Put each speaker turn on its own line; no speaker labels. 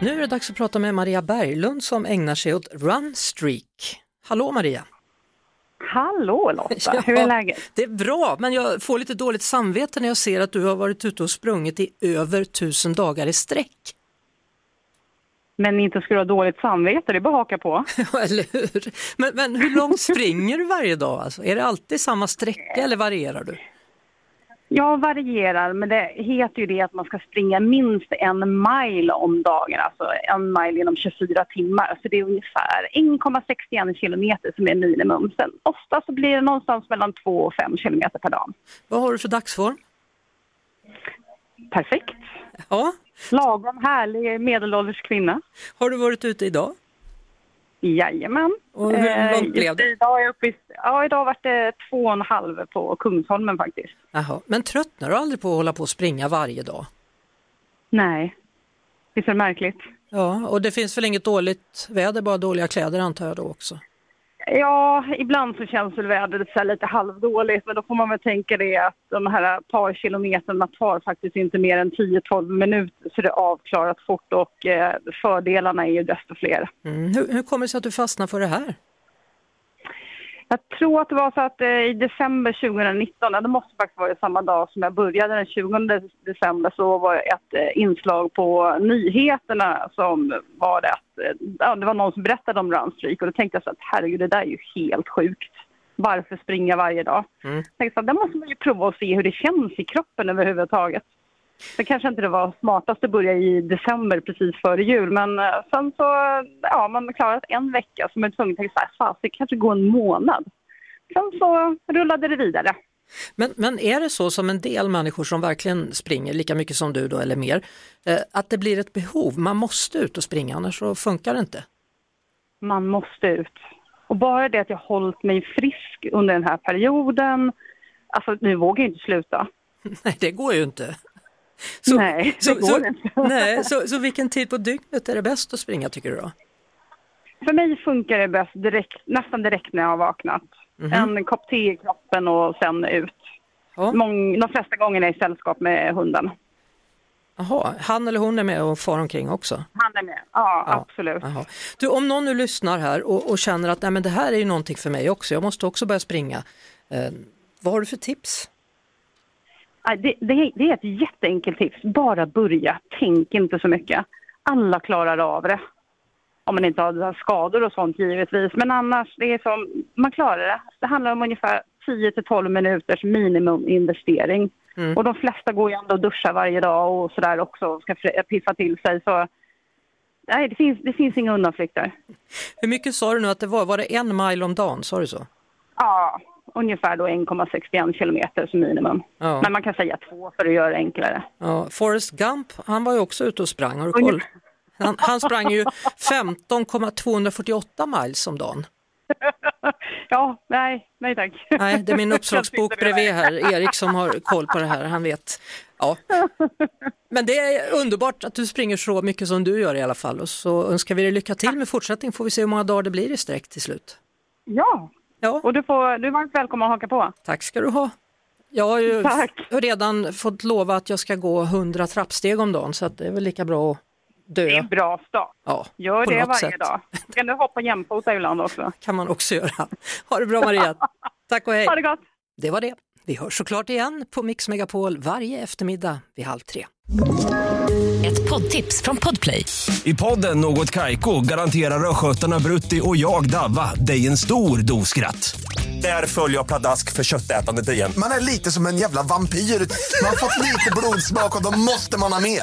Nu är det dags att prata med Maria Berglund som ägnar sig åt Runstreak. Hallå Maria!
Hallå Lotta, hur
Ja,
är läget?
Det är bra, men jag får lite dåligt samvete när jag ser att du har varit ute och sprungit i över tusen dagar i sträck.
Men inte skulle ha dåligt samvete, det är bara att haka på.
Ja, Eller hur? Men, men hur långt springer du varje dag? Alltså? Är det alltid samma sträcka eller varierar du?
Jag varierar, men det heter ju det att man ska springa minst en mile om dagen, alltså en mile inom 24 timmar. Så det är ungefär 1,61 kilometer som är minimum. Sen ofta så blir det någonstans mellan 2 och 5 kilometer per dag.
Vad har du för dagsform?
Perfekt.
Ja,
Lagom härlig medelålders kvinna.
har du varit ute idag?
Jajamän.
Och hur
Eh,
långt blev det?
Idag, är jag uppe i, ja, idag var det två och en halv på Kungsholmen faktiskt.
Jaha, men tröttnar du aldrig på att hålla på och springa varje dag?
Nej, visst är det märkligt?
Ja, och det finns väl inget dåligt väder, bara dåliga kläder antar jag då också.
Ja, ibland så känns väl vädret så här lite halvdåligt men då får man väl tänka det att de här par kilometerna tar faktiskt inte mer än 10-12 minuter så det är avklarat fort och eh, fördelarna är ju desto fler.
Mm. Hur, hur kommer det sig att du fastnar för det här?
Jag tror att det var så att eh, i december 2019, ja, det måste faktiskt vara samma dag som jag började, den 20 december, så var det ett eh, inslag på nyheterna som var det att eh, ja, det var någon som berättade om runstreak och då tänkte jag så att herregud, det där är ju helt sjukt. Varför springa varje dag?
Mm.
Jag tänkte så att där måste man ju prova och se hur det känns i kroppen överhuvudtaget. Det kanske inte det var smartast att börja i december precis före jul men eh, sen så, ja man har klarat en vecka så man är tvungen att tänka så här, "Fan, det kanske går en månad. Sen så rullade det vidare.
Men, men är det så som en del människor som verkligen springer lika mycket som du då eller mer, eh, att det blir ett behov, man måste ut och springa annars så funkar det inte?
Man måste ut. Och bara det att jag hållit mig frisk under den här perioden, alltså nu vågar jag inte sluta.
Nej, det går ju inte.
Nej, det går
så,
inte.
nej, så, så vilken tid på dygnet är det bäst att springa tycker du då?
För mig funkar det bäst direkt, nästan direkt när jag har vaknat. En kopp te i kroppen och sen ut.
Ja.
Mång, de flesta gångerna i sällskap med hunden.
Jaha, han eller hon är med och far omkring också?
Han är med, ja,
Ja,
absolut.
jaha. Du, om någon nu lyssnar här och, och känner att Nej, men det här är ju någonting för mig också, jag måste också börja springa. Eh, vad har du för tips?
Ja, Det, det, det är ett jätteenkelt tips. Bara börja. Tänk inte så mycket. Alla klarar av det. Om man inte har skador och sånt givetvis. Men annars, det är som, man klarar det. Det handlar om ungefär 10 till 12 minuters minimuminvestering.
Mm.
Och de flesta går ju ändå och duschar varje dag och sådär också och ska fri- piffa till sig. Så nej, det finns, det finns inga undanflykter.
Hur mycket sa du nu att det var, var det en mile om dagen, sa du så?
Ja, ungefär då 1,61 kilometer som minimum.
Ja.
Men man kan säga två för att göra det enklare.
Ja, Forrest Gump, han var ju också ute och sprang, har du koll? Han, han sprang ju 15,248 miles om dagen.
Ja, nej, nej tack.
Nej, det är min uppslagsbok
Jag tyckte det
bredvid här, Erik som har koll på det här, han vet. Ja. Men det är underbart att du springer så mycket som du gör i alla fall och så önskar vi dig lycka till med fortsättning, får vi se hur många dagar det blir i sträck till slut.
Ja,
Ja,
och du, får, du är varmt välkommen att haka på.
tack ska du ha. Jag har ju
Tack.
redan fått lova att jag ska gå 100 trappsteg om dagen så att det är väl lika bra att
Det är
dö.
en bra start.
Ja,
Gör
på
det
något
varje
sätt.
dag. Kan du hoppa jämfota ibland också?
kan man också göra. Ha det bra Maria, tack och hej.
Ha det gott!
Det var det. Vi hörs såklart igen på Mix Megapol varje eftermiddag vid halv tre.
Ett poddtips från Podplay.
I podden Något Kaiko garanterar östgötarna Brutti och jag, Davva, dig en stor dos skratt. Där följer jag pladask för köttätandet igen.
Man är lite som en jävla vampyr. Man har fått lite blodsmak och då måste man ha mer.